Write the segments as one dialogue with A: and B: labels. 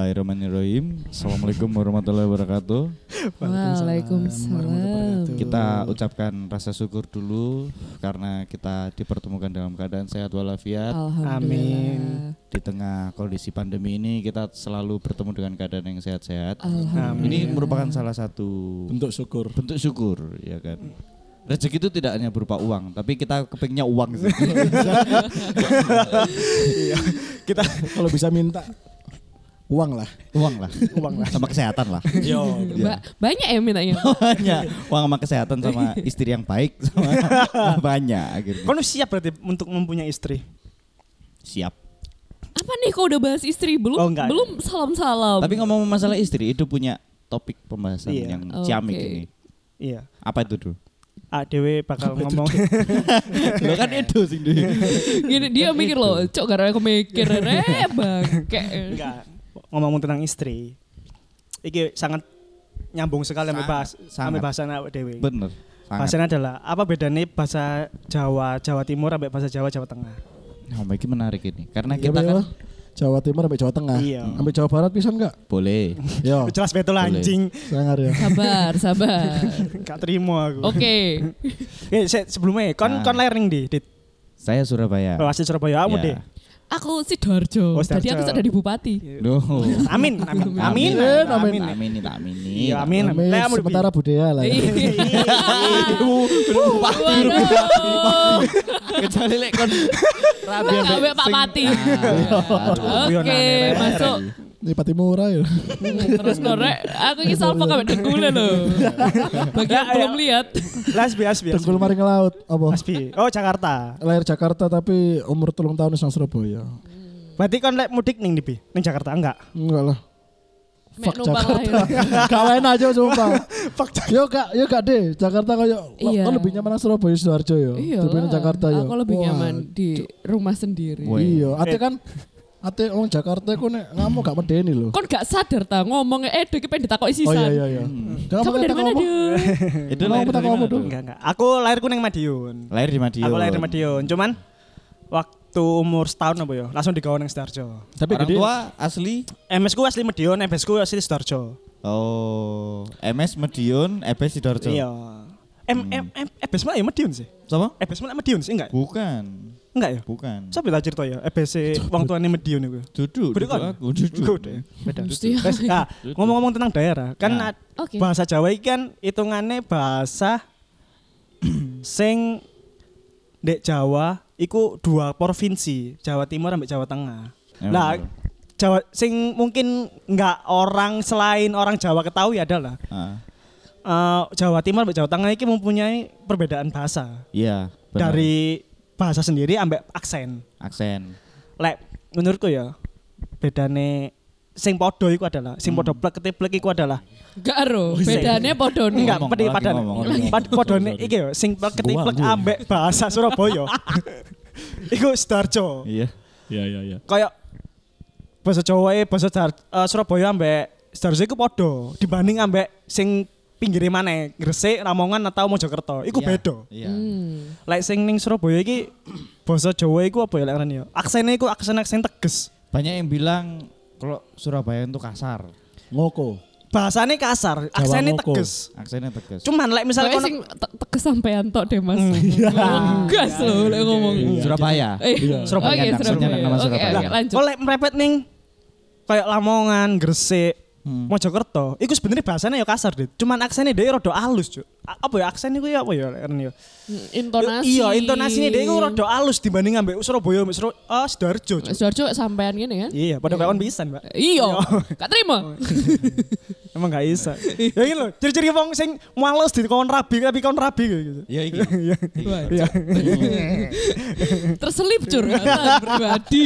A: Bismillahirrahmanirrahim. Assalamualaikum warahmatullahi wabarakatuh.
B: Waalaikumsalam.
A: Kita ucapkan rasa syukur dulu karena kita dipertemukan dalam keadaan sehat walafiat.
B: Alhamdulillah.
A: Di tengah kondisi pandemi ini kita selalu bertemu dengan keadaan yang sehat-sehat. Ini
B: Alhamdulillah.
A: merupakan salah satu
C: Bentuk syukur.
A: Iya. bentuk syukur ya kan. Rezeki itu tidak hanya berupa uang, tapi kita kepingnya uang sih.
C: Kita kalau bisa minta uang lah.
A: uang lah, uang lah. Sama kesehatan lah.
C: Yo.
A: Iya.
B: Ba- banyak ya mintanya.
A: banyak uang sama kesehatan sama istri yang baik sama banyak akhirnya
D: Kau siap berarti untuk mempunyai istri?
A: siap
B: Apa nih kau udah bahas istri belum?
D: Oh, enggak.
B: belum salam-salam.
A: tapi ngomong masalah istri itu punya topik pembahasan
D: Iya.
A: yang
B: Oke.
A: ciamik ini
D: Iya.
A: apa itu tuh
D: Ah, Dewe bakal ngomong.
A: lo kan itu sih Di.
B: Gini, dia mikir loh, cok karena aku mikir re bangke.
D: gitu. Enggak. Ngomong tentang istri. Iki sangat nyambung sekali sampai
A: Sangat,
D: bahas sampai
A: sangat.
D: bahasan awak Dewe.
A: bener sangat
D: Bahasannya adalah apa bedanya bahasa Jawa, Jawa Timur sampai bahasa Jawa, Jawa Tengah?
A: nah, ini menarik ini karena
C: Iya,
A: kita
C: Bel.
A: kan
C: Jawa Timur sampai Jawa Tengah.
D: Eh, Iya.
C: Sampai Jawa Barat bisa enggak?
A: boleh
C: Yo.
D: Jelas betul
A: Oh. Boleh.
D: anjing.
C: Sangar ya.
B: Sabar, sabar.
D: Gak terima aku.
B: Oke.
D: Eh, se- sebelumnya kon
A: Oh. Nah.
D: kon lereng di di
A: saya Surabaya
D: oh, asli Surabaya kamu
A: Ya.
D: deh.
B: Aku si Darjo.
D: Oh,
B: Jadi aku
D: Sidoarjo. Iya.
B: sudah di bupati.
A: Duh.
D: Amin, amin, amin,
C: Amin,
D: amin,
A: amin ini amin
D: Iya, amin.
C: Kami
D: Lah, Iya. kamu di-
C: sementara budaya lah. ya.
B: Waduh.
A: kecuali lek kon Ah. rabi
B: Nggak, ambek Pak Pati.
D: Ah.
B: Oke, masuk.
C: Ini Patimura ya.
D: Iya,
B: Terus norek, aku ini salvo kabeh dengkulnya loh. Bagi yang
D: Ya,
B: belum
D: ya.
B: lihat,
D: Lasbi, Lasbi,
C: Dengkul mari ngelaut. Apa?
D: Lasbi. Oh Jakarta.
C: Lahir Jakarta tapi umur telung tahun nang Surabaya.
D: Berarti kon lek mudik ning di Bi? ning Jakarta enggak?
C: Enggak lah.
B: mek
C: Fuck
B: numpang
C: Jakarta.
B: lahir.
C: Gak lain aja sumpah. Yo gak, yo gak deh. Jakarta kayak
B: Iya.
C: kan lebih nyaman nang Surabaya Sidoarjo yo.
B: Iya.
C: Daripada nang Jakarta
E: ya?
C: yo.
B: Aku lebih
C: Wah,
B: nyaman di rumah sendiri.
A: Woi.
C: Iya, ate
B: Eh.
C: kan ate wong Jakarta ku nek ngamuk gak medeni lho.
B: Kon gak sadar ta ngomongnya eh dek pengen ditakoki
C: Oh iya
B: sisan.
C: iya iya. Jangan
B: Kamu
C: pakai
B: dari
C: tak
B: mana,
C: ngomong.
B: Duh?
A: itu
C: Ngomong
A: lahir
C: apa
A: dari
C: kamu
A: mana
C: tuh?
A: tuh?
D: Enggak, enggak. Aku lahirku ning Madiun.
A: lahir di Madiun
D: Aku lahir di Madiun. Cuman waktu umur setahun apa ya, langsung digawe ning Sidoarjo.
C: Tapi
A: orang
C: gede.
A: tua asli
D: MS ku asli Madiun, MS ku asli Sidoarjo.
A: Oh, MS Medion, EBS E Sidoarjo.
D: Iya. M M M EBS malah ya Madiun sih.
A: Sama?
D: EBS malah Madiun sih enggak? ya?
A: Bukan.
D: Enggak ya?
A: Bukan.
D: Coba tak cerita ya, EBS wong tuane Madiun iku.
A: Duduk,
D: Beda
A: duduk
D: kan?
A: aku, duduk.
D: Beda. Beda.
B: Mesti.
D: Wes, nah, ngomong-ngomong tentang daerah, kan
A: Nah.
D: ad-
B: Oke.
D: bahasa Jawa iki kan hitungannya bahasa sing dek Jawa iku dua provinsi, Jawa Timur sampai Jawa Tengah.
A: Ya,
D: Nah,
A: bener.
D: Jawa sing mungkin nggak orang selain orang Jawa ketahui adalah
A: Ah,
D: eh, Jawa Timur sampai Jawa Tengah iki mempunyai perbedaan bahasa
A: Iya, bener.
D: dari bahasa sendiri ambek aksen.
A: aksen.
D: Lek menurutku ya bedane sing podo iku adalah sing
A: Hmm.
D: podo plek plek iku adalah
B: Gak ero, bedane padha nih.
D: Enggak,
A: Ngomong,
D: pedi
A: lagi
D: padan.
A: ngomong.
D: Pad padone iki yo sing ketiplek ambek bahasa Surabaya. Iku Sidoarjo.
A: Iya.
E: Ya ya ya.
D: Kayak bahasa Jawa e bahasa Dar- eh, Surabaya ambek Sidoarjo iku padha dibanding ambek sing pinggire maneh, Gresik, Ramongan atau Mojokerto. Iku
A: Iya,
D: beda.
A: Iya.
B: Hmm.
D: Lek sing ning Surabaya iki bahasa Jawa iku apa ya lek ngarani yo? Aksene iku aksen-aksen teges.
A: Banyak yang bilang kalau Surabaya itu kasar,
C: Ngoko.
D: Bahasane kasar, aksene
C: Ngoko.
D: teges.
A: aksennya tegas.
D: Cuman lek misalnya
B: Soalnya
D: kono-
B: sing te- teges sampean tok deh Mas. Gas loh lek
A: Iya.
B: ngomong.
A: Hmm. Surabaya.
B: Eh,
A: Surabaya,
B: Oke,
A: anak
B: Surabaya.
A: senjata, nama
B: Oke,
A: Surabaya.
B: oke, ya, lanjut.
D: Oleh merepet ning kayak Lamongan, Gresik,
A: Hmm.
D: Mojokerto. Iku sebenarnya bahasanya ya kasar, Dit. Cuman aksennya dia rada halus, Cuk. A- Apa ya aksen iku ya apa ya Ren, ya?
B: Hmm, Intonasi.
D: Iya, intonasinya dia iku rada halus dibanding ambek Surabaya, ambek Suro- ah, Sidoarjo, Cuk.
B: Sidoarjo sampean gini kan?
D: Iya, pada kawan pisan, Mbak.
B: Iya. Gak terima.
D: Emang gak bisa. ya ini loh, ciri-ciri wong sing males di kawan rabi, tapi kawan rabi kayak gitu.
A: Iya, iki.
D: Iya.
B: Terselip
A: Iya.
B: curhatan pribadi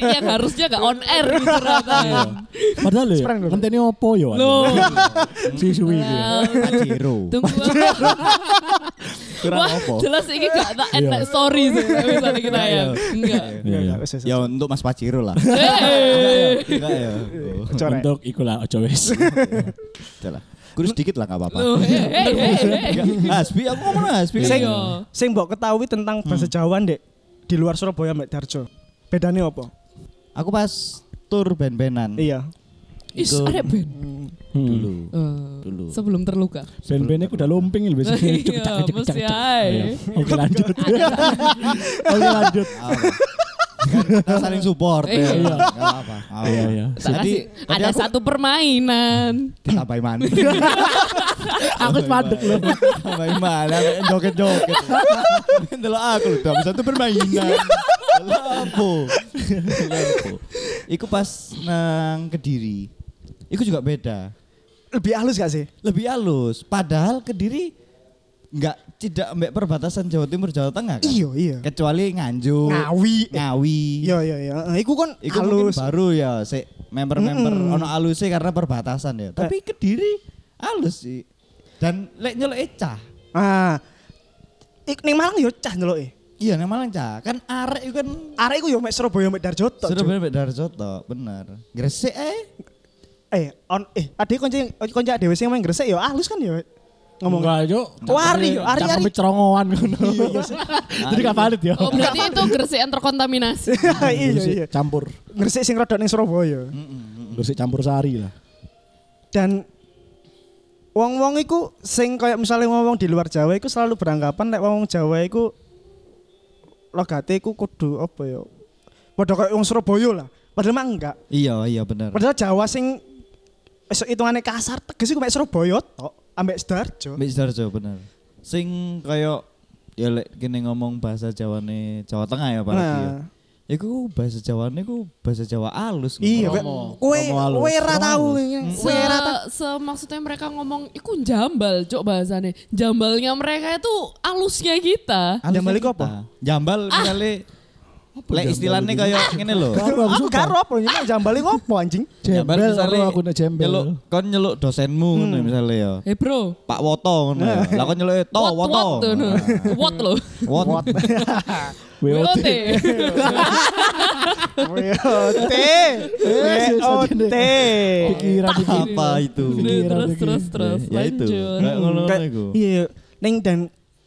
B: yang harusnya gak on air gitu, di
A: Iya.
B: curhatan.
C: Padahal ya,
D: Sprang dulu.
C: ngenteni opo yo.
B: Loh.
C: Suwi-suwi
B: Iya.
C: iki.
E: ya.
A: Iya. Pajero.
B: Tunggu.
A: Kurang
B: Wah,
A: apa? Iya.
B: jelas ini gak tak enak sorry sih kalau misalnya kita ya. Enggak.
D: Iya, iya, wes, wes,
A: Ya
D: wes.
A: untuk Mas Pajero lah.
B: Hei.
A: Enggak ya. Oh,
D: Corek.
E: Untuk ikulah ojo wis.
A: udah lah. Kurus dikit lah enggak apa-apa.
B: Loh, hei, hei, hei, hei.
A: Enggak. Hasbi, aku ngomong Hasbi.
D: Sing
B: Iya.
D: sing mbok ketahui tentang bahasa Jawa, Dek, di luar Surabaya, Mbak Darjo. Bedanya apa?
A: Aku pas tur ben-benan.
D: Iya.
B: Is
A: Iku-
B: ada band.
E: Dulu.
A: dulu
B: Eh,
A: Dulu.
B: Sebelum terluka.
E: Ben-bennya udah lomping lho biasanya. Cuk,
B: Iya,
E: cak, cak, cak,
B: mesti Iya.
E: cak.
B: ae.
E: Iya. Oke lanjut.
A: Oke lanjut. Kita saling support.
B: Iya.
A: ya. Nggak apa-apa. Nggak
E: Iya,
A: apa-apa.
E: iya.
B: Tak
A: Jadi,
B: kasih.
A: tadi
B: Ada
A: aku-
B: satu permainan.
A: Kita Baiman.
C: Aku sepadek loh.
A: Baiman, joget-joget. Delok aku lho, habis satu permainan. Delok apa? Delok apa? Iku pas nang Kediri. Iku juga beda.
D: Lebih halus gak sih?
A: Lebih halus. Padahal Kediri nggak tidak mbek perbatasan Jawa Timur Jawa Tengah kan?
D: Iya, iya.
A: Kecuali Nganjuk,
D: Ngawi.
A: Ngawi.
D: Iya, iya, iya. Eh, Iku kan
A: Iku mungkin
D: halus.
A: baru ya, si member-member
D: Mm-mm.
A: ono alusnya karena perbatasan ya. Tapi Kediri alus sih. Dan lek nyeluk cah.
D: Ah. Ik ning Malang yo cah ndeloke.
A: Iya, nang Malang cah. Kan arek itu kan
D: Arek iku yo mek Surabaya mek Darjo tok. Cuk.
A: Surabaya mbek Darjo tok, bener. Gresik eh.
D: Eh, on eh adek konco konco dhewe sing main Gresik yo halus kan yo. Ngomong
E: Enggak, Cuk.
D: Wari,
E: Cakep-
D: Ari,
E: cakep
D: Ari.
E: cerongoan ngono. Jadi gak valid ya.
B: Iya. Oh berarti itu gersekan terkontaminasi.
D: iya
E: Gresik
D: iya.
E: Campur.
D: Gresik sing rodok ning Surabaya.
E: Gresik campur sari lah.
D: Dan wong-wong iku sing kayak misalnya wong-wong di luar Jawa iku selalu beranggapan lek wong Jawa iku logate iku kudu apa ya? Padha kayak wong Surabaya lah. Padahal mah enggak.
A: Iya, iya bener.
D: Padahal Jawa sing esuk hitungannya kasar tegas iku mek Surabaya tok, ambek Sidoarjo.
A: Mbek Darjo bener. Sing kayak ya lek kene ngomong bahasa Jawane Jawa Tengah ya apalagi ya.
D: Nah,
A: Iku bahasa Jawane ku bahasa Jawa alus.
D: iya
A: ngono.
D: kok kowe
E: Romo halus.
D: kowe ra
E: Romo
D: tau.
E: halus.
B: Se,
D: Kowe ra tau.
B: se maksudnya mereka ngomong, iku jambal, cok bahasane. Jambalnya mereka itu alusnya kita.
A: Alusnya
D: Jambal iku
A: kita. Ah!
D: apa?
A: Jambal misalnya lek istilahnya kayak ngene lho.
E: Karo aku
D: Aku
E: suka.
D: gak ro apa nyek jambali ngopo anjing.
E: Jembel karo aku nek jembel.
A: Nyeluk, kon nyeluk dosenmu ngono misalnya ya.
B: Eh bro,
A: Pak Woto ngono. ya. Lah kon nyeluk eh, to
B: what
A: Woto. Nah.
B: what tuh, no. What lo?
A: Wot.
E: WOT.
B: WOT.
D: WOT. WOT.
E: Pikiran iki.
A: Apa itu?
B: Udah,
E: Pikiran
B: terus
E: lagi.
B: terus terus.
A: gitu. Ya itu.
B: Lanjut.
A: Kayak ngono
D: Kayak-
A: iku.
D: Iya, ning dan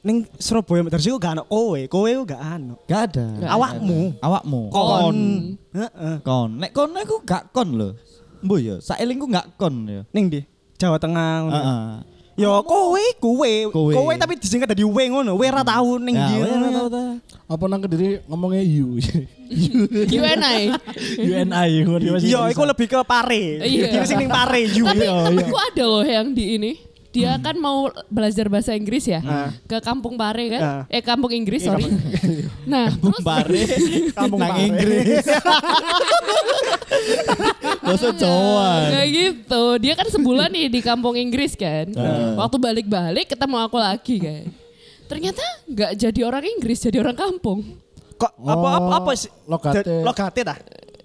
D: ning Surabaya Medan Siku gak ana kowe, kowe ku gak ana.
A: Gak ada.
D: Awakmu.
A: Awakmu.
D: Kon. Heeh.
A: Kon. Nek kon aku gak kon lho. Mbo ya, saelingku gak kon ya.
D: Ning di Jawa Tengah ngono.
A: Heeh.
D: Ya kowe, kowe,
A: Kowe.
D: kowe tapi disingkat dadi we ngono, we ra tau ning
A: Ya,
D: ndi.
A: we ra tau
E: Apa nang kediri ngomongnya you.
B: You and I.
E: UNI ngono ya, masih
D: Iya,
E: bisa.
D: iku lebih ke pare.
B: Iya.
D: Kira sing ning pare you.
B: Tapi
E: Iya, iya.
B: aku ada loh yang di ini. Dia kan mau belajar bahasa Inggris ya
D: Ah.
B: ke kampung Pare kan?
D: Ah.
B: Eh kampung Inggris sorry. Nah terus
A: Bare.
D: Kampung
A: Nang
D: Bare.
A: Inggris. Bahasa Jawa.
B: Kayak gitu. Dia kan sebulan nih di kampung Inggris kan. Waktu balik-balik ketemu aku lagi kan. Ternyata nggak jadi orang Inggris, jadi orang kampung.
D: Kok apa apa
E: Oh,
D: apa sih?
E: lokate.
D: Da- Lokate ta?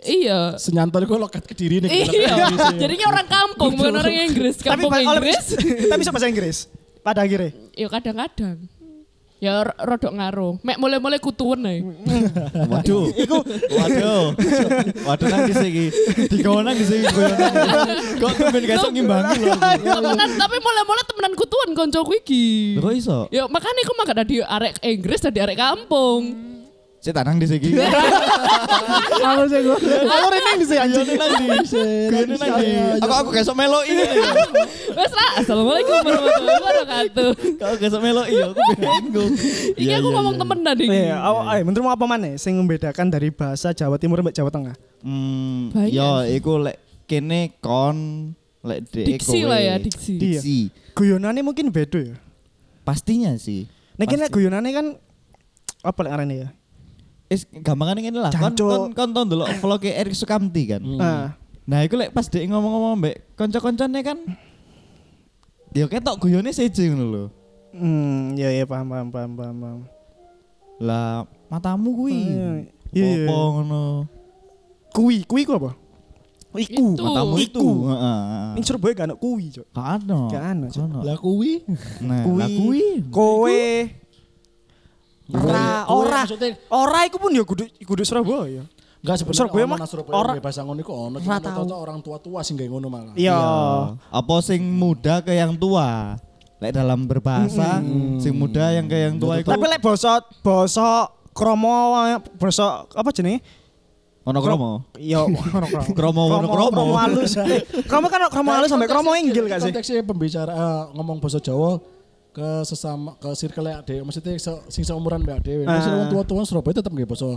B: Iya.
E: Senyantol iku lokat kediri nih.
B: Iya. Jadinya orang kampung, bukan orang Inggris. Kampung
D: ba- oleh-
B: Inggris.
D: tapi bisa bahasa Inggris. Pada akhirnya.
B: Ya kadang-kadang. Ya r- rodok ngaruh. Mek mulai-mulai kutuan nih.
A: Waduh. Iku waduh. Waduh nang dhisik iki. Digowo nang dhisik iki. Kok temen gak iso ngimbangi lho. aku.
B: Ya, temenan, tapi mulai-mulai temenan kutuan koncoku iki.
A: Lho, Kok iso?
B: Ya makanya aku mah dari arek Inggris dari arek kampung.
A: Cek tanang dhisik iki.
C: Aku sih gue.
D: Aku rene di sini anjing.
A: Nang ndi? Guyone nang ndi? Aku aku gak iso meloi.
B: Wes lah, assalamualaikum warahmatullahi wabarakatuh.
A: Kok gak iso meloi ya aku bingung.
B: Iki aku ngomong temenan iki.
D: Iya, aw- ayo, menurutmu apa mana sing membedakan dari bahasa Jawa Timur mbak Jawa Tengah?
A: Hmm,
B: Banyak.
A: yo iku lek kene kon lek dhek
B: Diksi
A: kowe.
B: lah ya, diksi.
A: Diksi.
D: Guyonane mungkin beda ya.
A: Pastinya sih.
D: Nek kene
A: Pasti.
D: guyonane kan apa lek ngarane ya?
A: Is gampangane ngene lah. Kon
D: Jancuk.
A: kon kon tau ndelok vloge Erik Sukamti kan.
D: Ah,
A: Nah, iku lek pas dhek ngomong-ngomong mbek kanca-kancane kan Yo ketok guyone seje ngono lho.
D: hmm, ya ya paham paham paham paham. paham.
A: Lah matamu kuwi.
D: Iya,
B: Oh,
D: iya, iya.
A: Apa ngono?
D: Kui, kui ku apa? Iku.
B: Itu.
A: Matamu itu.
D: Iku.
A: Heeh.
D: Ning Surabaya gak ana kui, Cok.
A: Gak ano.
D: Gak ano, Cok.
E: Lah kuwi
A: Nah,
D: Kui. Iya.
A: lah kui.
D: Kowe.
E: Kowe-
D: Ra,
E: kowe
D: ora.
E: maksudnya-
D: Ora iku pun ya kudu kudu Surabaya.
E: enggak sebenarnya
D: Surabaya
E: ono
D: mah
E: nang Surabaya
D: ora-
E: orang bahasa ngono iku ono
D: Ora
E: cuma
D: tahu.
E: cocok orang tua-tua sing kayak ngono malah.
D: Iya.
A: Apa sing muda ke yang tua? Lek dalam berbahasa, sing muda yang ke yang tua itu.
D: Tapi lek basa basa kromo basa apa jenenge?
A: Ono kromo.
D: Yo, Iya, kromo.
A: Kromo ono kromo.
D: Kromo halus. Eh, Kromo kan kromo halus sampai kromo inggil gak sih?
E: Konteksnya pembicara eh, ngomong bahasa Jawa ke sesama ke circle ya dhewe maksudnya se, sing seumuran mbak dhewe. Maksudnya
D: Ah.
E: wong tua-tua Surabaya tetep nggih basa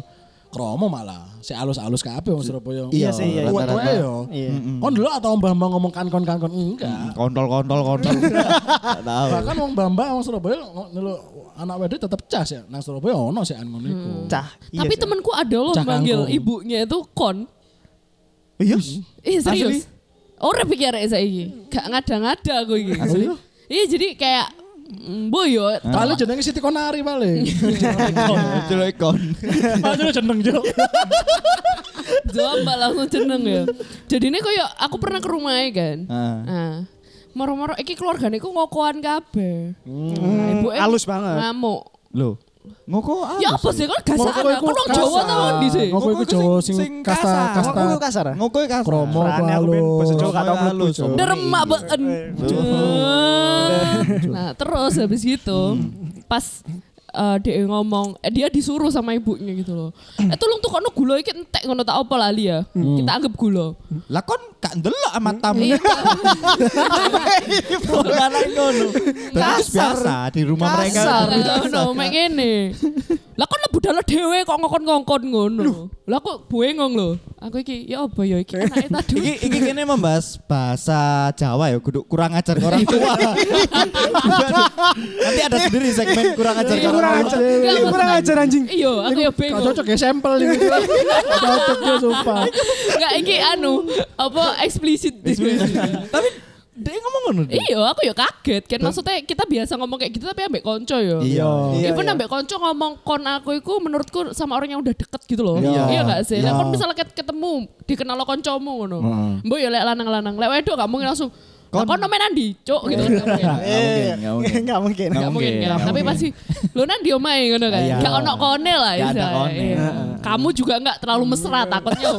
E: kromo malah. Si alus-alus kabeh wong Surabaya.
D: Iya sih, iya.
E: Tua-tua
A: rata-rata.
E: yo.
D: Iya.
E: Kon dulu atau mbah-mbah ngomong kankon-kankon enggak.
A: Kontol kontol kontol. Nggak Tahu.
E: Bahkan wong mbah-mbah wong Surabaya ngo- dulu anak wedi tetep cas ya. Nang Surabaya ono sih anu niku.
D: Cah. iya
B: Tapi
D: sih.
B: temanku ada loh
E: Cah
B: manggil
E: kangkung.
B: ibunya itu kon.
D: Iya.
B: Ih serius. Ora pikir arek saiki. Gak ngada-ngada aku iki. Iya jadi kayak boyo.
E: Kali jenenge Siti Konari paling. Iya.
A: Celok ikon.
E: Padahal jeneng jo.
B: Jawab mbak langsung jeneng ya. Jadi ini kayak aku pernah ke rumahnya kan.
A: Ah.
B: Nah, moro-moro iki keluargane ku ngokoan kabeh. Nah,
D: Hmm,
B: ibuke
D: halus banget.
B: Ngamuk.
A: Lho. Ngoko ah.
B: Ya apa sih kan gasak
E: Ngoko
B: anak
E: iku
B: kono Jawa
E: kasar.
B: ta ndi sih?
E: Ngoko iku Jawa sing kasta- kasta-
D: Kasta kasar. ah?
A: Ngoko iki kasar.
E: Kromo
D: Serane aku pengen bahasa Jawa gak tau
A: Kromo
D: mlebu,
A: halus.
D: Jo.
B: Deremak beken. Nah, terus habis gitu pas eh, dia ngomong, eh, dia disuruh sama ibunya gitu loh. Eh tolong tuh kono gula iki entek ngono tak apa lali ya. Kita anggap gula.
A: Lah kon gak ndelok sama tamu.
B: Iya.
A: Barang ngono. Berarti
B: Kasar.
A: biasa di rumah mereka.
B: Kasar ngono mek ngene. Lah kon lebu dalan dhewe kok ngokon-ngokon ngono. Lah kok bengong lho. Aku iki ya apa ya iki anake ta duwe.
A: Iki iki kene membahas bahasa Jawa ya, kudu kurang ajar ke orang tua. Nanti ada sendiri segmen kurang ajar ke
D: Ini kurang
A: orang tua.
D: ajar.
B: Enggak,
D: Ini kurang
B: maksudnya-
D: ajar anjing.
B: Iya, aku ya
E: Gak
B: bengong.
E: cocok ya sampel ini. Gak cocok ya sumpah.
B: Enggak iki anu apa eksplisit.
A: Iya, Tapi dia ngomong ngono. Dek.
B: Iya, aku ya kaget kan. Maksudnya kita biasa ngomong kayak gitu tapi ambek konco ya.
A: Iya.
D: Iya,
B: Even
D: iya.
B: ambek konco ngomong kon aku iku menurutku sama orang yang udah deket gitu loh.
A: Iya.
B: Iya gak sih? Lah
A: Iya.
B: kon misalnya ket- ketemu dikenal lo koncomu ngono. Mbok ya lek lanang-lanang, lek wedok gak mungkin langsung Kon, kon nomen Andi, cok gitu. Gak mungkin.
D: Eh,
A: Iya. Nggak mungkin,
D: nggak mungkin.
A: Nggak
B: Gak mungkin
A: mungkin,
B: kan.
A: nggak
B: Tapi
A: mungkin.
B: pasti lo Nandi omae ngono kan.
A: Iya.
B: Gak ono kone lah
A: Gak ada
B: istilahnya.
A: kone.
B: Iya. Kamu juga gak terlalu mesra takutnya.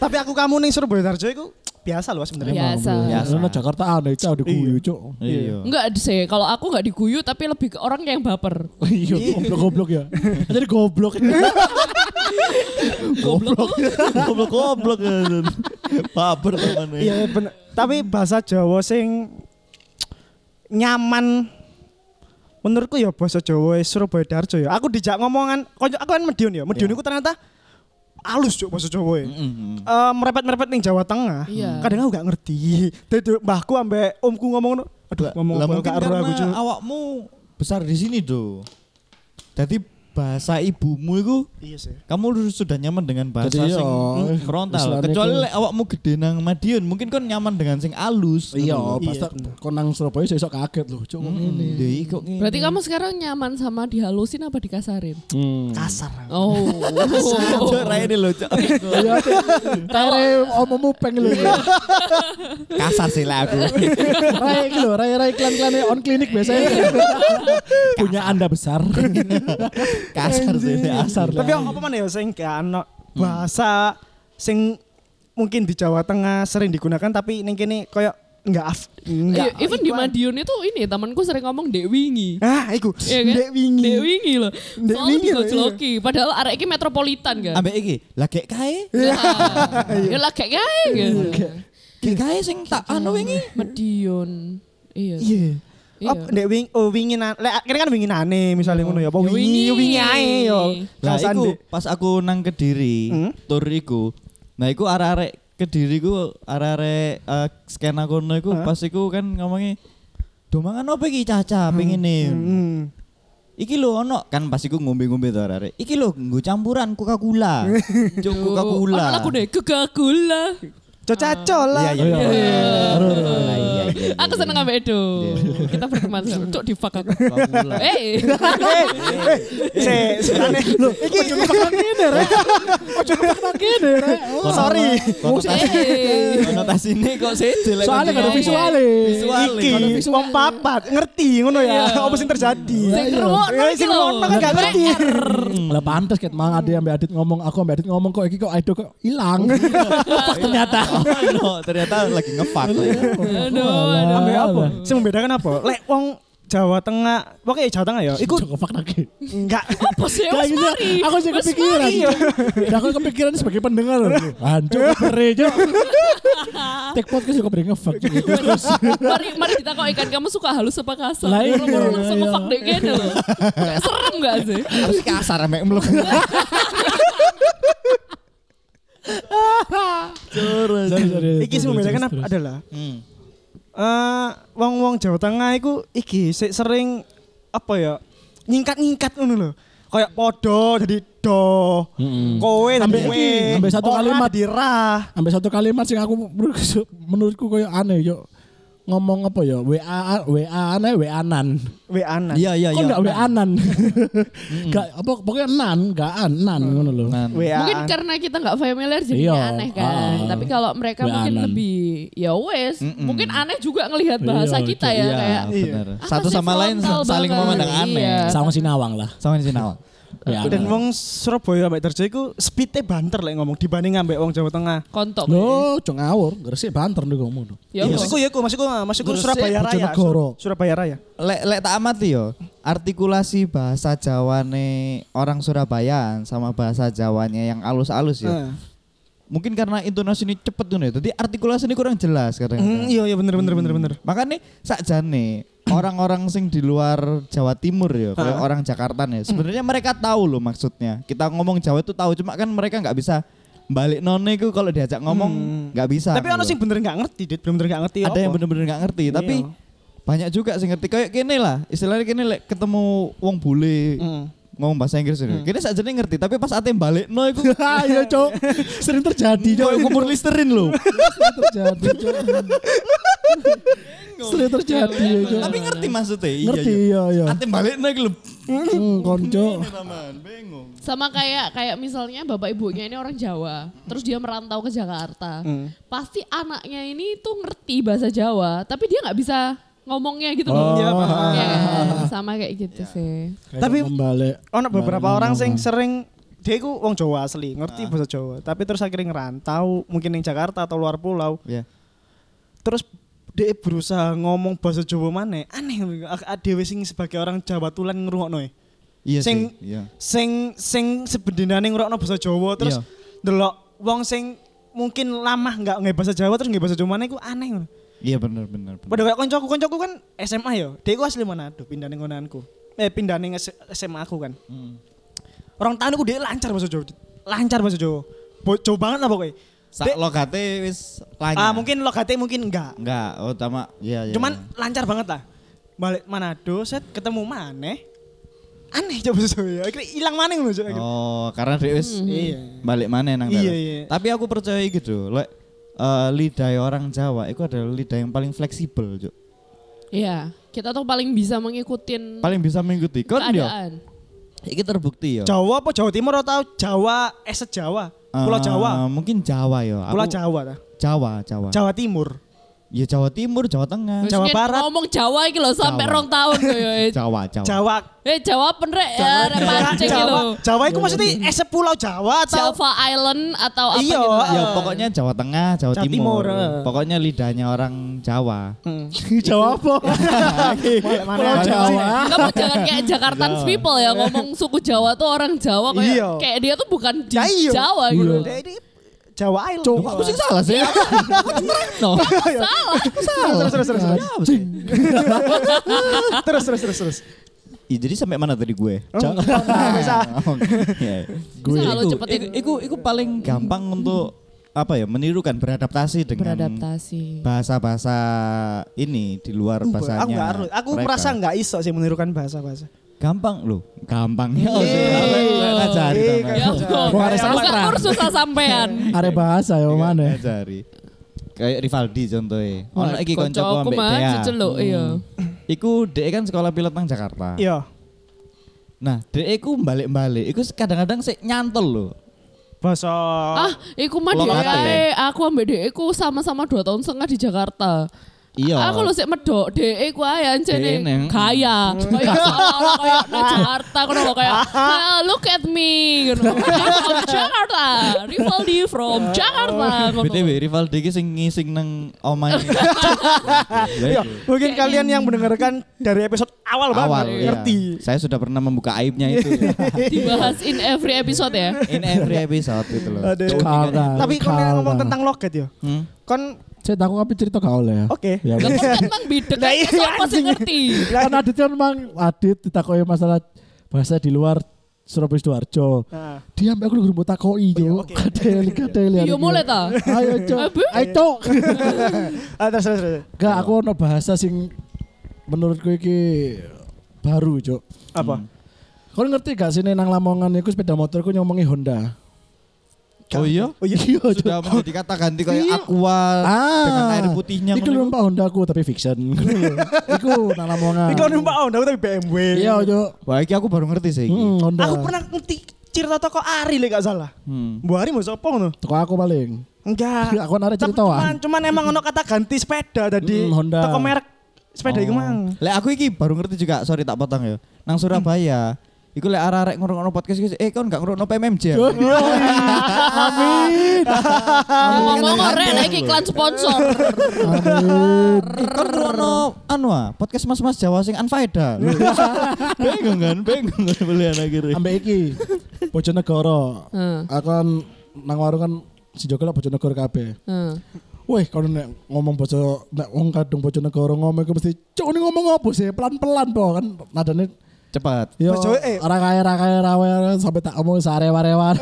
D: Tapi aku kamu nih Surabaya Tarjo itu biasa loh sebenarnya.
B: Biasa.
A: Biasa.
E: Karena Jakarta ada itu ada guyu cok.
A: Iya.
B: Enggak sih, kalau aku gak diguyu tapi lebih ke orang yang baper.
E: Iya, goblok-goblok ya. Iya, Jadi goblok.
B: Goblok. tuh.
A: Goblok goblok. Baper teman
D: Iya bener. Tapi bahasa Jawa sing nyaman menurutku ya bahasa Jawa Surabaya Darjo ya. Aku dijak ngomongan, konco- aku kan Medion ya. Medion itu ternyata halus juga bahasa Jawa ya. Eh, merepet-merepet ning Jawa Tengah.
B: Iya.
D: Kadang aku gak ngerti. Dadi mbahku ambek omku ngomong ngono, aduh ngomong
A: Lah
D: apa
A: mungkin
D: gak ero aku
A: karena
D: Cuk."
A: awakmu besar di sini do. Jadi bahasa ibumu itu
D: Iya sih.
A: kamu sudah nyaman dengan bahasa
E: Jadi,
A: sing hmm,
E: iya,
A: frontal.
E: istilahnya
A: Kecuali
E: itu-
A: lek awakmu gede nang Madiun, mungkin kan nyaman dengan sing alus.
E: Iya, Hmm.
A: Ngono.
E: pas tak- kon nang Surabaya saya sok kaget loh, cok ini.
A: Iya, iya, kok ngene.
B: Berarti kamu sekarang nyaman sama dihalusin apa dikasarin?
E: Hmm.
D: Kasar.
B: Oh.
A: Cok, Rai ini loh, Cok.
E: Iya, tere omomu peng lho.
A: Kasar sih lah aku.
E: Rai iki lho, rai-rai iklan-iklannya on klinik biasanya. Punya Anda besar.
A: Kasar sih lah.
E: Kasar.
D: Tapi apa mana ya sing gak ono bahasa sing mungkin di Jawa Tengah sering digunakan tapi ning kene koyo enggak af, enggak.
B: Iya, even di Madiun itu ini temanku sering ngomong Dek Wingi.
D: Ah, iku.
B: Iya kan?
D: Dek wingi.
B: Dek Wingi loh.
D: Dek
B: Soalnya
D: Wingi loh, iya.
B: digojloki. Padahal arek ini metropolitan kan.
A: Ambek iki, lah gek kae,
B: Ya,
D: Iya.
B: ya lah kayak kayak gitu.
A: gek kae sing tak anu wingi.
B: Madiun. Iya.
D: Iya.
B: Iya.
D: Apa Dek wingi oh wingi na- lek kene kan wingi nane misalnya ngono ya. Apa
B: Ya, wingi.
D: wingi wingi ae yo.
A: Lah
D: Kawasan
A: iku
D: Dek.
A: pas aku nang Kediri,
D: Hmm?
A: tur iku. Nah iku arek-arek Kediri ku arek-arek eh, skena kono iku
D: Hah?
A: pas iku kan ngomongi Do mangan apa iki Caca pengine.
D: Hmm.
A: Iki lho ono kan pas iku ngombe-ngombe to arek-arek. Iki lho nggo campuran Coca-Cola. Cuk Coca-Cola.
B: Ono lagu deh, Coca-Cola.
D: Cocaco
A: Iya
D: lah.
A: iya.
E: Iya,
A: iya.
B: Iya.
A: Iya, iya, iya.
B: Aku seneng sama Edo.
D: Iya.
B: Kita berteman sekarang. Cok di fuck aku.
A: Coca-Cola.
B: Eh,
D: eh, Sik, sebenarnya iki Sorry.
A: Konotasi-
B: eh.
A: Konotasine kok sedel lek
E: Soalnya gak ada
A: ngomong.
E: visualnya.
A: Visuale.
D: Iki wong papat ngerti ngono ya.
B: Iya.
D: Apa sing terjadi?
B: Sing ngerungokno
D: Eh,
B: iki
D: Sing
B: lho.
D: ngerungokno kan gak ngerti.
E: Lah pantes ket mang ade ambek Adit ngomong, aku ambek Adit ngomong kok iki kok Aido kok ilang.
A: ternyata ternyata lagi ngefak.
B: Aduh, aduh.
D: Ambil apa? Sing membedakan apa? Lek wong Jawa Tengah, pokoknya Jawa Tengah ya. Iku
E: Joko Paknake.
D: enggak
B: Apa sih?
E: Kayak gini,
B: Ya, Wes mari.
E: iya, aku sih
B: Wes
E: kepikiran.
B: mari.
E: Dan aku kepikiran sebagai pendengar loh. Hancur beri Cok. Take podcast juga beri ngefuck. gitu.
B: mari mari kita kok ikan kamu suka halus apa kasar?
E: Lah iya,
B: Orang-orang
E: iya,
B: langsung
E: iya.
B: ngefak deh kayaknya loh. Kayak serem gak sih?
A: Harus kasar mek mlebu.
E: Sorry, sorry,
D: iki
E: sorry,
D: sing membedakan
E: sorry,
D: ap-
E: sorry.
D: adalah eh wong-wong Jawa Tengah iku iki sik sering apa ya nyingkat-nyingkat ngono lho. Kayak podo jadi do. Kowe
E: Ambe
D: sampe
E: iki, ambe satu kalimat.
D: dirah.
E: Ambil satu kalimat sing aku menurutku- menurutku koyo aneh yo. Ngomong apa ya? WA WA aneh WA nan.
D: Weanan.
A: Iya iya
E: Kok
A: iya.
E: enggak WA nan? Enggak apa pokoknya nan, enggak an, nan
D: Hmm.
E: ngono lho.
D: Nah.
A: Nan.
B: Mungkin
D: Wean.
B: karena kita nggak familiar jadi
E: Iya.
B: aneh kan.
E: Ah.
B: Tapi kalau mereka
E: Weanan.
B: mungkin lebih ya wes,
A: Mm-mm.
B: mungkin aneh juga ngelihat bahasa
E: Iya,
B: kita ya
A: Iya,
B: kayak
A: benar.
B: Apa
A: Satu
B: sih
A: sama lain
B: frontal
A: saling
B: banget?
A: memandang
B: Iya.
A: aneh.
E: Sama Sinawang lah. Ya, nah.
A: Sama di sini awal.
E: WA
D: Dan
E: nan.
D: wong Surabaya ambek Terjo iku speed banter lek ngomong dibanding ambek wong Jawa Tengah.
B: kontok.
E: Loh, cung ngawur, gresik banter nih kamu tuh.
B: Ya apa?
D: Maksudku ya iku, maksudku maksudku
E: Gresik,
D: Surabaya Raya.
E: Bojonegoro.
D: Sur- Surabaya Raya.
A: Lek lek tak amati yo, artikulasi bahasa Jawane orang Surabaya sama bahasa Jawanya yang alus-alus ya.
D: Heeh.
A: Mungkin karena intonasi ini cepet tuh jadi artikulasi ini kurang jelas
D: Hmm,
A: kadang-kadang.
D: iya iya bener bener bener bener.
A: Makanya sakjane orang-orang sing di luar Jawa Timur ya, kayak orang Jakarta nih. Sebenarnya
D: Hmm.
A: mereka tahu loh maksudnya. Kita ngomong Jawa itu tahu, cuma kan mereka nggak bisa balik none itu kalau diajak ngomong nggak bisa.
D: Hmm. Tapi ono
A: gitu.
D: sing bener nggak ngerti, Dit. Bener-bener nggak ngerti
A: ada yang
D: apa.
A: bener-bener nggak ngerti, tapi
D: Iya.
A: banyak juga sing ngerti kayak kene lah. Istilahnya kene lek ketemu wong bule
D: Hmm.
A: ngomong bahasa Inggris ini. Kene sakjane ngerti, tapi pas ate balik no iku
E: Ayo, Iya, Cok. Sering terjadi, Cok.
A: koyo
D: Iya.
A: kumur listerin lho.
E: Sering terjadi, Cok. Sering terjadi,
D: Iya,
E: ya, Cok.
A: tapi ngerti maksudnya. iya,
E: Ngerti,
A: iya.
E: iya, iya.
A: Ate balik no iku lho.
E: Hmm, konco.
A: Taman, bingung.
B: Sama kayak kayak misalnya bapak ibunya ini orang Jawa, terus dia merantau ke Jakarta.
A: Mm.
B: Pasti anaknya ini tuh ngerti bahasa Jawa, tapi dia nggak bisa ngomongnya gitu
E: Oh.
B: loh.
D: Iya,
E: ah,
D: paham.
B: Ya, sama kayak gitu sih.
D: Tapi-
E: membalik.
D: Ono beberapa orang sing sering dia iku wong Jawa asli, ngerti bahasa Jawa, tapi terus akhirnya ngerantau, mungkin yang Jakarta atau luar pulau,
A: Ya.
D: terus dia berusaha ngomong bahasa Jawa mana aneh ah, dhewe sing sebagai orang Jawa tulen ngrungokno e.
A: Iya sih,
D: Sing-
A: iya.
D: sing sing sebenarnya ngrungokno bahasa Jawa terus
A: Iya.
D: delok wong sing mungkin lama nggak nggak bahasa Jawa terus nggak bahasa Jawa mana iku aneh ngono.
A: Iya benar benar. benar.
D: Pada kayak koncoku, koncoku kan SMA ya. Dia iku asli Manado, pindah ning konanku. Eh pindah ning S- SMA aku kan.
A: Hmm.
D: Orang tahun aku dia lancar bahasa Jawa. Dit. Lancar bahasa Jawa. Bo- Jawa banget lah pokoknya.
A: Sak
D: Dek-
A: lokate wis lanyar.
D: Ah, mungkin logatnya mungkin enggak.
A: enggak, utama iya iya.
D: Cuman lancar banget lah. Balik Manado, set ketemu maneh. Aneh coba bahasa Jawa. ya. Akhirnya hilang maneh ngono Cok.
A: iya.
D: Akhirnya.
A: Oh, karena dia wis
D: Iya.
A: balik mana nang
D: Iya,
A: dalan.
D: iya.
A: Tapi aku percaya gitu, lek eh, lidah orang Jawa itu adalah lidah yang paling fleksibel, Cuk.
B: Iya, kita tuh paling bisa mengikutin
A: Paling bisa mengikuti. Kon yo,
B: keadaan.
A: iki terbukti ya? yo.
D: Jawa apa Jawa Timur atau Jawa eh Jawa? Pulau
A: Eh,
D: Jawa.
A: mungkin Jawa yo. Aku-
D: Pulau Jawa ta.
A: Jawa, Jawa.
D: Jawa Timur.
A: Ya Jawa Timur, Jawa Tengah.
D: Jawa
B: Mungkin
D: Barat.
B: Ngomong Jawa iki loh sampai
A: Jawa.
B: rong tahun tuh ya.
A: Jawa, Jawa.
D: Jawa
B: Eh Jawa penrek ya, ada pancing iki
D: Jawa,
B: loh.
D: Jawa itu maksudnya es pulau Jawa atau
B: Java Island atau apa
D: Iya,
B: gitu. lah.
A: Ya pokoknya Jawa Tengah, Jawa,
D: Jawa
A: Timur.
D: Timur, eh.
A: Pokoknya lidahnya orang Jawa.
E: Jawab apa?
D: Balik mana?
E: Pulau Jawa.
B: Kamu jangan kayak Jakartans people ya ngomong suku Jawa tuh orang Jawa kayak
D: Iya.
B: kayak dia tuh bukan di
D: Ya, iya.
B: Jawa gitu.
D: Jadi ini Jawa Island.
E: Cok,
A: Aku sih salah sih. Aku no.
B: Salah.
D: Terus terus terus terus.
E: Cing.
D: terus terus terus terus.
A: Ya, jadi sampai mana tadi gue?
E: Jawa.
D: Oh. Bisa.
A: Ya.
B: Iya. Gue
A: Iku-
B: kalau cepetin
A: iku- Iku iku paling gampang untuk apa ya menirukan beradaptasi dengan
B: beradaptasi.
A: bahasa-bahasa ini di luar bahasanya.
D: Uh, Aku nggak harus. Aku
A: mereka.
D: merasa nggak iso sih menirukan bahasa bahasa.
A: gampang loh, gampang ya.
B: Iya.
A: Ngajari
D: Iya,
A: tambah.
B: Ya,
E: Wah, ada
B: bukan
E: sastra.
B: kursus sampean.
E: Are bahasa
D: Iya.
E: ya mana?
A: Ngajari. Iya, Kayak Rivaldi contohnya. Ono iki koncoku
B: Oh, aku
A: ambek
B: mah
A: Dea. Hmm.
B: jeceluk iya.
A: Iku dhek kan sekolah pilot nang Jakarta.
D: Iya.
A: Nah, dhek iku balik-balik. Iku kadang-kadang sik nyantol loh.
D: Bahasa.
B: Ah, iku mah
A: Lokate.
B: dia aku ambek dia aku sama-sama dua tahun setengah di Jakarta.
A: Iya.
B: Aku lho sik medok dhek ku ae
A: Dhek neng.
B: anjene gaya. Kayak salah, kayak nang Jakarta ngono kok kayak "Ah, look at me ngono. I'm from Jakarta. Rivaldi from Jakarta ngono.
A: BTW Rivaldi iki sing ngising nang omahe. Ya,
D: Iya, mungkin
B: Kayak
D: kalian
B: ini.
D: yang mendengarkan dari episode
A: Awal
D: awal, banget
A: iya.
D: ngerti. Iya.
A: Saya sudah pernah membuka aibnya itu
B: Dibahas in every episode ya.
A: in every episode itu loh.
D: Aduh.
A: Keunikannya itu.
D: Tapi kau
E: Kalah.
D: ngomong tentang loket ya.
A: Hmm?
D: Kon
E: Saya takut apa cerita gak oleh ya.
D: Oke.
A: Iya.
E: Ya,
B: Lah kok tentang bidek
D: Lah
B: kan
D: iya,
B: sapa sing
D: anjing.
B: ngerti?
E: kan Adit kan memang Adit ditakoki masalah bahasa di luar Surabaya Sidoarjo.
D: Nah.
E: Dia ambek aku lho
A: Oh
E: mbok takoki
A: iya,
E: yo.
D: oke.
E: Kadel kadel ya.
B: Yo Iya, mulai ta.
E: Ayo cok.
B: Abu.
E: Ayo cok.
D: Ah, terus terus terus.
E: Gak aku ono bahasa sing menurutku iki baru cok.
D: Apa?
A: Hmm.
E: Kau ngerti gak sih nih, nang Lamongan iku sepeda motorku nyomongi Honda.
A: Oh iya.
D: Oh iya.
A: Sudah menjadi kata ganti kayak
E: Iya.
A: aqua
D: Ah.
A: dengan air putihnya
E: Iku
A: ngono.
E: numpak Honda aku tapi fiction. Iku nang Lamongan.
D: Iku numpak Honda tapi BMW.
E: Iya cok.
A: Wah, iki aku baru ngerti sih iki.
E: Hmm, Honda.
D: Aku pernah ngerti cerita toko Ari lek gak salah.
A: Hmm.
D: Bu Ari mau sapa ngono?
E: Toko aku paling.
D: Enggak.
E: Aku narik
D: Tapi
E: cerita
D: Cuman, cuman emang ono kata ganti sepeda tadi.
E: Mm, Honda.
D: Toko merek sepeda iku mang.
A: Lek aku iki baru ngerti juga, sorry tak potong ya. Nang Surabaya, iku lek arek-arek ngurungno podcast iki, eh kon gak ngurungno PMMJ. ya?"
B: Yo ngomong ora lagi iklan sponsor.
A: Eh, kon ngurungno anu ah, podcast mas-mas Jawa sing anfaedah. Bingung kan, bingung kan belian akhirnya.
E: Ambek iki Bojonegoro.
B: Heeh.
E: Aku kan nang warung kan si Joko lah Bojonegoro kabeh.
B: Heeh.
E: Wih, kalau nek ngomong bojo nek wong kadung Bojonegoro ngomong iku mesti cuk ini ngomong apa sih? Pelan-pelan po kan nadane
A: Cepat.
E: yo
D: Bojo, eh.
E: ora kaya ora kaya rawe sampai tak omong sarewa-rewan.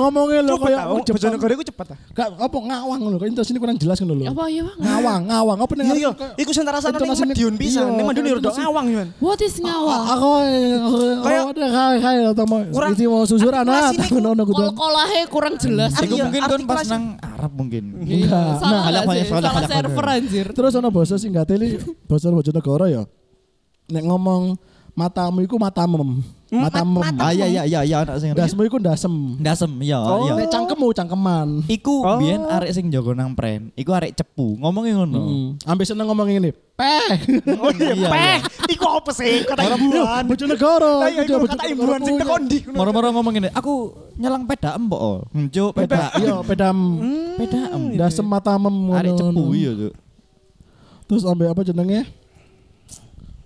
E: Ngomongnya lho
D: Cepet
E: kaya
D: ta,
E: wong Jepang.
D: Bojonegoro iku cepet ta?
E: Gak apa ngawang lho, kan sini kurang jelas ngono lho.
B: Apa ya, Bang?
E: Ngawang, ngawang. Apa nih?
D: Iya iya. Iku sing rasane ning
E: Intonasi-
D: Madiun pisan.
E: Iya,
D: Ning Madiun ya
E: intonasi-
D: rodok ngawang yo.
B: What is
D: Ah,
B: ngawa?
E: Aku kayak kayak kayak tamu.
D: Kurang-
E: Iki mau susuran ah,
D: artikulasi
E: ngono ngono kudu.
B: Kol-kolahe kurang jelas.
A: Iku
D: Iya,
A: mungkin kon pas
D: artikulasi.
A: nang Arab mungkin.
E: Enggak.
B: Salah
A: Nah,
B: nggak
A: banyak- banyak-
B: sih? Salah
A: banyak-
B: server
A: banyak.
B: anjir.
E: Terus ono basa sing gateli basa Bojonegoro ya. Nek ngomong matamu iku
D: Hmm,
E: matamem. Matamem.
A: Ah iya iya iya iya anak sing.
E: Dasmu iku dasem.
A: Dasem, iya iya.
E: Nek cangkemmu cangkeman.
A: Iku
D: Oh.
A: biyen arek sing jago nang pren, iku arek cepu, ngomongnya ngono.
E: Hmm. Ambe seneng ngomong ngene. Peh.
D: Oh iya,
A: Iya,
D: peh. Iku apa
E: Iya.
D: sih? Kata imbuhan.
E: Bojonegoro.
D: Lah iya, iku kata imbuhan sing teko ndi?
E: iya.
A: Moro-moro ngomong ngene, aku nyelang peda empok. oh." Njuk peda.
E: Iya, pedam.
D: Hmm, iya,
E: Pedam. Dasem matamem ngono.
A: Arek cepu iya, Cuk.
E: Terus ambe apa jenenge?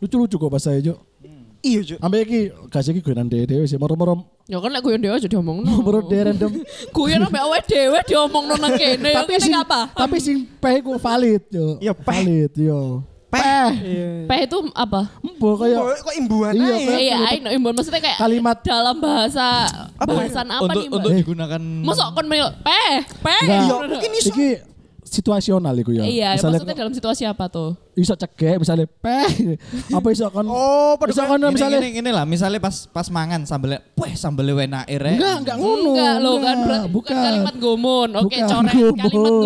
E: Lucu-lucu kok bahasa Cuk.
D: Iya, Cuk.
E: Ambe iki gas iki gue nanti dhewe sih moro-moro
B: Ya kan lek guyon dhewe aja diomongno.
E: moro dhewe random.
B: Guyon ambek awake dhewe diomongno nang kene. Tapi
E: Tapi sing
B: apa?
E: tapi sing peh ku valid yo.
D: Iya, peh.
E: Valid yo. Peh.
B: P itu apa?
E: Embo kaya
D: Kok kok imbuhan
E: Iya,
D: ae.
E: Peh.
B: Iya, I know. Imbon maksudnya kayak
E: Kalimat.
B: dalam bahasa bahasan apa
A: Untuk
B: nih,
A: untuk
B: Mbak? Eh,
A: digunakan
B: Masuk kon mil peh, peh.
E: Enggak.
D: Iya,
B: Nah,
D: mungkin iso.
E: iki situasional iku ya.
B: Iya,
E: misalnya
B: maksudnya dalam situasi apa tuh?
E: iso cegek misalnya peh apa iso kon
D: Oh, padha
E: iso kon
A: Ngene-
E: misalnya
A: ngene- ngene lah, misalnya pas pas mangan sambelnya, weh sambelnya enak rek.
E: enggak enggak ngono.
B: Enggak lo kan berarti bukan kalimat gomon. Oke,
E: Bukan.
B: coret kalimat
E: Gomon.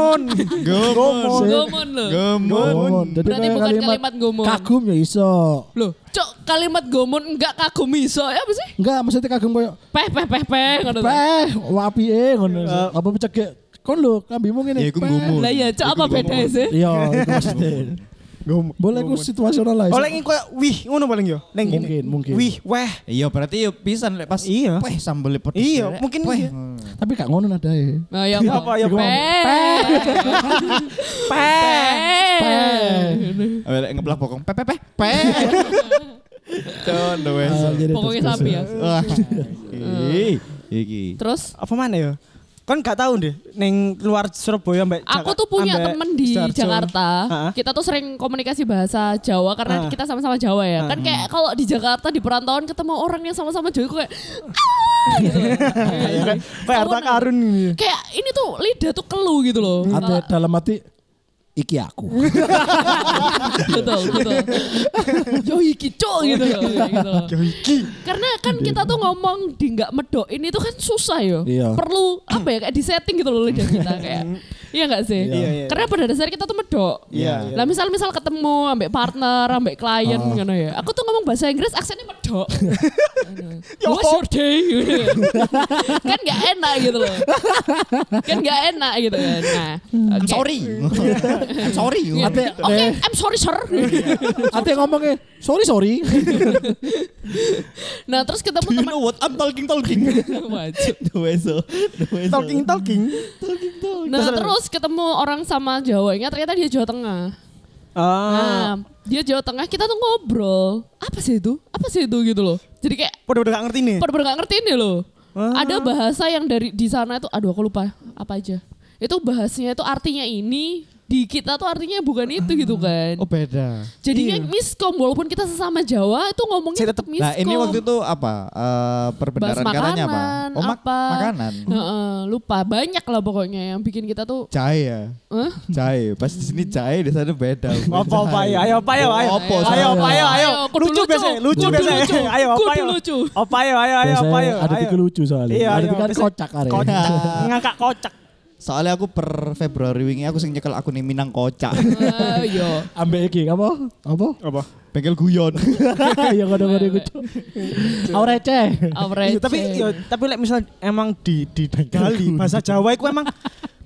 B: gomon.
A: Gomon.
B: Gomon lo.
A: Gomon.
E: Jadi
B: Berarti
E: kayak
B: bukan kalimat gomon.
E: Kagum ya iso.
B: Loh, cok kalimat gomon enggak kagum iso ya apa sih?
E: Enggak, maksudnya kagum koyo
B: Peh peh peh peh ngono. tuh.
E: Peh, wapi eh ngono. Apa cegek kon lho kambimu ngene.
A: Ya iku
E: peh.
A: gumun.
B: Lah ya, cok apa beda sih?
E: Iya, iku maksudnya. Boleh ku situasional lah. iso.
D: Oleh iki koyo wih ngono paling yo. Ning
E: Mungkin,
D: gini.
E: mungkin.
D: Wih, weh.
A: Iya berarti yo pisan lek pas
D: Iya.
A: weh sambelnya pedes.
D: Iya,
A: rek.
D: mungkin
A: Weh.
D: iya.
E: Tapi gak ngono e. nadae.
B: Nah, ya
D: Ya apa, ya apa?
B: Peh.
D: Peh.
B: Peh.
A: Awe lek ngeplak Eh, bokong pe pe pe. pe. Cok, no wes.
E: Ah, jadi
B: Pokoknya
E: terus-
B: sapi ya.
A: Wah. Iki. Iki.
B: Terus
D: Apa mana ya? Kon gak tahu deh, neng luar Surabaya mbak.
B: aku tuh punya temen di Jakarta.
D: Heeh.
B: Kita tuh sering komunikasi bahasa Jawa karena
D: Ah.
B: kita sama-sama Jawa ya. Kan kayak kalau di Jakarta di perantauan ketemu orang yang sama-sama Jawa kok kayak "Ah," gitu.
D: Kayak Iya, Ya kan?
B: Iya.
D: kayak harta
B: Tahunan.
D: karun gitu. ini.
B: kayak ini tuh lidah tuh kelu gitu loh.
E: Ada
B: Kalau-
E: dalam hati iki aku.
B: betul, betul. Yo iki cok gitu. loh, kayak gitu loh.
D: Iki. Gitu.
B: Karena kan kita tuh ngomong di nggak medok ini tuh kan susah yo.
E: Iya.
B: ya, Perlu apa ya kayak di setting gitu loh lidah kita kayak. Iya nggak sih?
D: Iya, iya.
B: Karena pada dasarnya kita tuh medok.
A: Iya.
B: Lah misal-misal ketemu ambek partner, ambek klien
D: Ah.
B: ngono ya. Aku tuh ngomong bahasa Inggris aksennya medok.
D: Iya.
B: Ngono. What's your day? Gitu ya. kan nggak enak gitu loh. Kan nggak enak gitu kan. Nah,
A: I'm
B: oke.
A: sorry. I'm sorry.
B: Iya. Oke, I'm sorry sir.
E: Ate ngomongnya, sorry sorry.
B: nah terus ketemu
A: Do you
B: teman
A: know what I'm talking talking?
B: Wajib.
A: Dueso. oh.
D: Talking talking.
B: Nah terus ketemu orang sama Jawanya ternyata dia Jawa Tengah. Nah,
D: Ah.
B: dia Jawa Tengah kita tuh ngobrol. Apa sih itu? Apa sih itu gitu loh. Jadi kayak
D: Udah-udah gak ngerti nih.
B: bener-bener gak ngerti ini loh. Ada bahasa yang dari di sana itu aduh aku lupa apa aja. Itu bahasanya itu artinya ini, di kita tuh artinya bukan itu gitu kan.
A: Oh beda.
B: Jadinya miskom walaupun kita sesama Jawa itu ngomongnya
D: Saya
B: tetap miskom.
A: Nah ini waktu itu apa? Eh, perbenaran
B: Bahas
A: katanya apa?
B: makanan,
A: Oh mak-
B: apa.
A: makanan.
B: Heeh, lupa banyak lah pokoknya yang bikin kita tuh
A: Cai ya.
B: Hah?
A: Cai. Pas di sini cai di sana beda.
D: Apa apa ayo
A: ya?
D: ayo apa ayo ayo.
A: Apa,
D: Ayo apa ayo ayo.
B: Eh, kudu
D: Lucu biasa, lucu
B: Kudu
D: biasa. Ayo apa
B: Kudu
D: ayo.
B: lucu.
D: Apa ayo ayo ayo apa
E: Biasanya
D: ayo.
E: ada
D: ayo.
E: tiga lucu soalnya.
D: Iya,
E: ada
D: iya,
E: tiga kan
D: biasanya-
E: kocak are.
D: Kocak. Ngangkak kocak.
A: Soalnya aku per Februari wingi aku sing nyekel aku nih Minang kocak.
B: Eh, yo.
E: Ambek iki apa? Apa?
D: Apa?
A: Bengkel guyon.
E: Ya ngono-ngono iku. Cuk. Aure ceh.
B: Average.
D: Iya, tapi iya, tapi lek misal emang di di Bali bahasa Jawa iku emang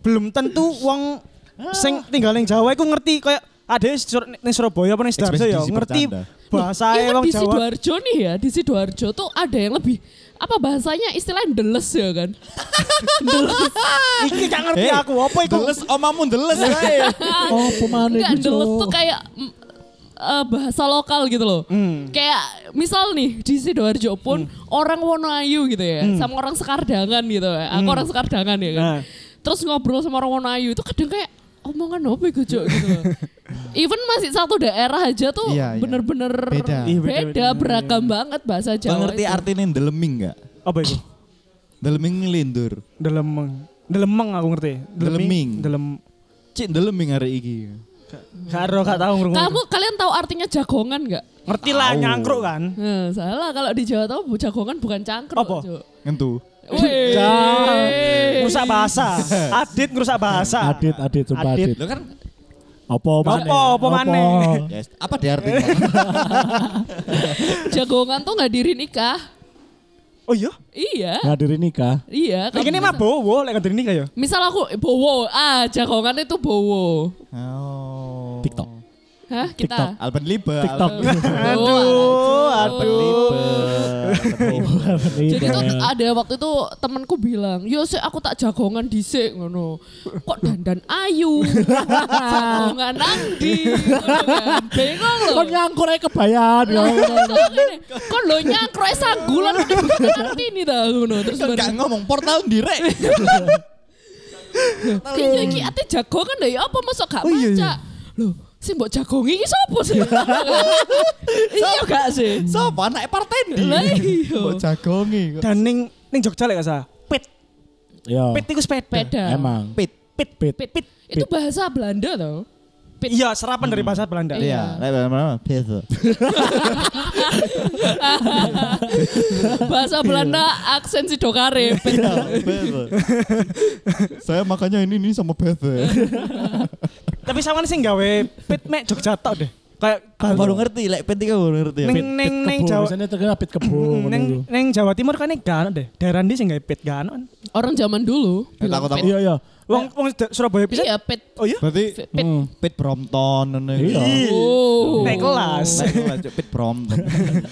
D: belum tentu wong sing tinggal ning Jawa iku ngerti kayak ada yang sur- ning Surabaya apa ning Sidoarjo ya
A: Ekspedisi
D: ngerti
A: bercanda.
D: bahasa
B: Even
D: wong
B: Iya kan, di
D: Jawa.
B: Sidoarjo nih ya, di Sidoarjo tuh ada yang lebih apa bahasanya istilahnya deles ya kan.
D: Iki gak ngerti
A: Eh,
D: aku apa iku.
A: Deles omamu deles kae.
E: Oh, pemane
B: Enggak
E: iku.
D: gitu.
B: deles
E: Cuk.
B: tuh kayak mm, eh, bahasa lokal gitu loh.
D: Hmm.
B: Kayak misal nih di Sidoarjo pun orang Wonoayu gitu ya, sama orang Sekardangan gitu ya. Aku orang Sekardangan ya kan.
D: Hmm. Nah.
B: Terus ngobrol sama orang Wonoayu itu kadang kayak omongan apa iku Cuk?" gitu loh. Even masih satu daerah aja tuh
A: Iya, iya.
B: bener-bener
A: Beda.
B: beda,
D: Iya, beda-beda.
B: beragam banget bahasa Jawa.
A: Mengerti
B: itu.
A: artinya deleming gak?
D: Apa iku?
A: Deleming ngelindur.
D: Delemeng. Delemeng aku ngerti.
A: Deleming.
D: Delem.
A: Cik deleming hari iki.
D: Gak ero gak tau ngrungu.
B: Kamu kalian tahu artinya jagongan nggak?
D: ngerti lah
A: Tahu.
D: nyangkruk kan.
B: Nah, salah kalau di Jawa tahu bu jagongan bukan cangkruk.
D: Apa?
B: Cuk.
A: Ngentu.
B: Wih.
D: Ngrusak bahasa. Adit ngrusak bahasa.
E: Adit, adit, sumpah adit.
D: Adit.
A: Lo kan
E: Apa maneh?
D: Apa, apa maneh?
A: Yes. Apa dia artinya?
B: Jagongan tuh ngadirin nikah.
D: Oh iya.
B: Iya,
E: Ngadirin nikah.
B: iya.
D: Lek ini
B: kamu-
D: mah bowo lek ngerti nikah ya.
B: Misal aku eh, bowo, ah jagongan itu bowo.
A: Oh.
E: TikTok.
B: Hah, kita.
A: Alpen Liba.
E: Tiktok.
B: Bowo, aduh.
A: Alpen Liba. Alpen Liba.
E: Iya.
B: Jadi tuh ada waktu itu temanku bilang, yo sih aku tak jagongan dhisik ngono. Kok dandan ayu, jagongan nangdi, ngono kan. Bengong loh.
E: Kon nyangkur ae kebayaan ya.
B: Kok lo nyangkrok ae sanggulan kok ngerti nih ta ngono. Terus
A: Kan gak
B: baru,
A: ngomong portal direk.
B: iya iki ate jagongan lho ya apa mosok gak maca. Lho, sing mbok jagongi iki sapa sih? Iya gak sih?
A: Sapa anak partendi.
B: Lah iya.
A: Kok jagongi kok.
D: Dan ning ning Jogja lek gak salah. Pit.
E: Yo.
D: Pit iku sepeda.
E: Ya,
B: Peda.
E: Emang.
A: Pit.
D: Pit.
E: Oh. Pit.
B: Pit. Itu bahasa Belanda tau. Pit.
D: Iya, serapan dari bahasa Belanda.
B: Iya.
A: Iya, lek mana-mana peso.
B: Bahasa Belanda aksen Sidokare. Pit.
A: Peso. Saya makanya ini ini sama peso.
D: Tapi sama sih gawe pit mek Jogja tok deh. Kayak
A: Baru ngerti, lek iya, pit iki baru ngerti.
D: ning ning ning Jawa
E: Biasanya gitu. terkenal pit kebo.
D: ning ning Jawa Timur kan gak ono deh. Daerah ndi sing gawe pit gak ono. kan.
B: Orang zaman dulu.
A: Eh,
B: bilang
A: takut-takut.
E: Iya, iya.
D: Wong wong da- Surabaya
B: pit.
D: pisan.
B: Eh. Iya, pit.
D: Oh iya.
A: Berarti
B: Pit.
E: Hmm.
A: pit Brompton ngono.
E: Iya.
B: Oh.
D: Naik kelas.
A: Lek kelas, Cuk, pit Brompton.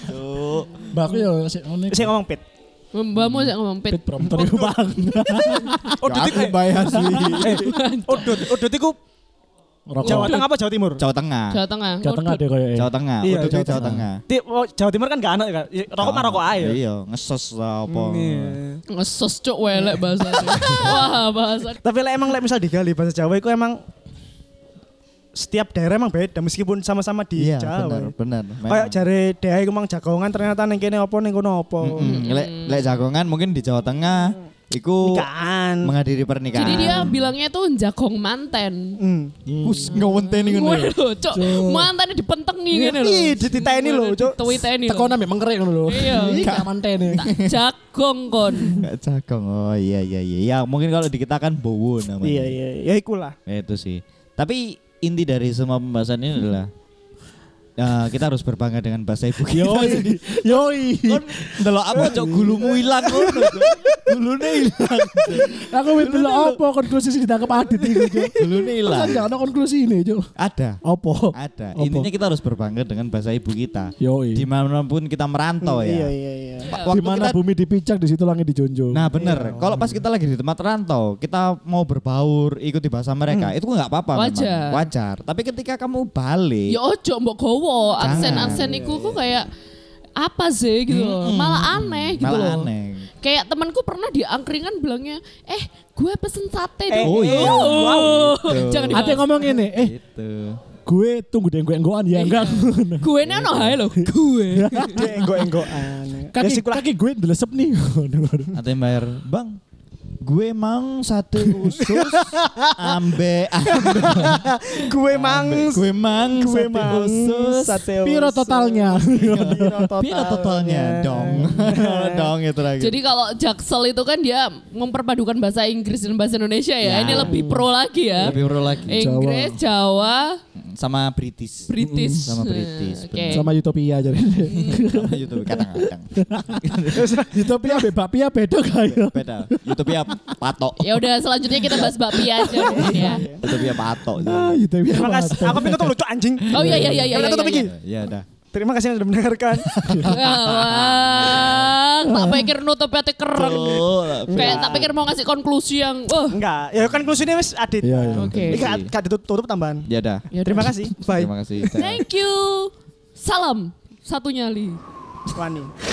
A: Cuk.
E: Mbakku yo ya, sik ngene.
D: Sing ngomong pit.
B: Mbakmu sih ngomong pit.
E: pit prompter iku Bang.
A: Ya,
D: Odot
A: aku
D: iku
A: bayar sih.
D: eh, odot odot iku
E: Rokok.
D: Jawa Tengah apa Jawa Timur?
A: Jawa Tengah.
B: Jawa Tengah.
E: Jawa Tengah deh koyo.
A: Jawa Tengah.
D: Iya,
A: Udah
D: Jawa
A: Jawa Tengah.
D: Ti- oh, Jawa Timur kan gak ono ya. Rokok mah rokok ae. ya.
A: Iya, ngesos lah apa.
D: Hmm, iya.
B: Ngesos cok welek bahasa. Wah, bahasa.
D: Tapi lek emang lek misal digali bahasa Jawa iku emang setiap daerah emang beda meskipun sama-sama di
A: Iya,
D: Jawa.
A: benar, benar. Memang.
D: Kayak jare daerah
A: Hmm,
D: iku mang jagongan ternyata ning kene apa ning kono apa. Hmm.
A: Mm-mm. Lek lek jagongan mungkin di Jawa Tengah. Iku
D: Nikahan.
A: menghadiri pernikahan.
B: Jadi dia bilangnya tuh jagong manten.
D: Hmm.
A: Kus ngewenteni
D: ya?
A: ngono. ya?
B: Waduh, cok, mantannya dipentengi ngene lho.
D: Ih, dititeni lho, Cuk.
B: Dititeni
E: Teko
B: lho.
E: nambah mengkerik ngono lho.
B: Iya.
E: Iki gak manten.
B: Jagong kon.
A: Gak cakong. Oh iya iya iya. Ya mungkin kalau di kita kan bowo namanya.
D: Iya iya, ya ikulah.
A: Ya, itu sih. Tapi inti dari semua pembahasan ini adalah eh, kita harus berbangga dengan bahasa ibu kita.
E: Yoi. Yoi.
A: iya, Kon ndelok apa cok gulumu ilang ngono. Cok. Gulune ilang.
E: Aku wis delok apa konklusi sing ditangkep Adit iki, Cuk.
A: Gulune ilang.
E: Kan gak ada konklusi ini, Cuk.
A: Ada.
E: Apa?
A: Ada.
E: Apa?
A: Intinya kita harus berbangga dengan bahasa ibu kita.
E: Yoi.
A: Dimanapun kita merantau ya.
D: Iya iya iya.
A: Pa-
E: Di
A: Waktu
E: mana
A: kita-
E: bumi dipijak di situ langit dijunjung.
A: Nah bener, kalau pas kita lagi di tempat rantau, kita mau berbaur, ikuti bahasa mereka,
D: Hmm.
A: itu nggak apa-apa memang.
B: Wajar.
A: wajar. Tapi ketika kamu balik,
B: Ya ojo mbok gowo,
A: Jangan.
B: aksen-aksen iku kok kayak apa sih gitu loh. Malah aneh gitu
A: Hmm. malah
B: loh.
A: aneh.
B: Kayak temanku pernah di angkringan bilangnya, "Eh, gue pesen sate."
D: Eh,
A: Oh, iya.
B: Oh,
A: Gitu.
E: Ada
B: Jangan
E: yang
B: dibahas.
E: ngomong ini, eh
A: Gitu.
E: gue tunggu deh gue nggoan ya enggak.
B: Gue ini ono hae lho, gue.
D: Dia enggok-enggokan. Ya
E: Kaki
D: sikulah.
E: kaki gue delesep nih.
A: Atau yang bayar, bang, gue mang sate khusus ambe, ambe.
D: Gue mang
A: gue mang
D: gue
A: sate
D: mang
A: khusus.
D: sate
E: Piro
D: khusus.
E: totalnya.
B: Iya,
D: Piro totalnya.
A: Piro totalnya dong, Iya. dong itu lagi.
B: Jadi kalau Jaksel itu kan dia memperpadukan bahasa Inggris dan bahasa Indonesia
A: Ya.
B: ya. Ini lebih pro lagi ya.
A: lebih pro lagi
B: Inggris, Jawa,
A: sama British. Mm,
B: British.
A: Sama British,
B: Oke.
A: bener.
E: Sama Utopia jadi.
A: Sama YouTube kadang-kadang.
E: Utopia be bapia beda kayak.
A: Beda. YouTube patok.
B: Ya udah selanjutnya kita bahas bakpia aja mungkin
A: Iya.
B: ya.
A: YouTube patok.
B: Iya.
E: Ah, Utopia.
D: Terima kasih. Aku pengen tuh lucu anjing.
B: Oh iya iya iya iya.
D: Udah
B: iya,
D: tutup
B: iya.
D: iki.
A: Ya dah.
D: Terima kasih yang sudah mendengarkan.
B: Wah, tak pikir nutup hati keren. Kayak tak pikir mau ngasih konklusi yang wah.
D: Enggak, ya kan konklusinya wis Adit.
E: Iya, iya.
B: Oke.
D: Ini gak gak ditutup tambahan.
A: Ya dah.
B: Ya udah.
D: Terima kasih.
B: Iya.
D: Bye.
A: Terima kasih.
B: Thank you. Salam satu nyali.
D: Wani.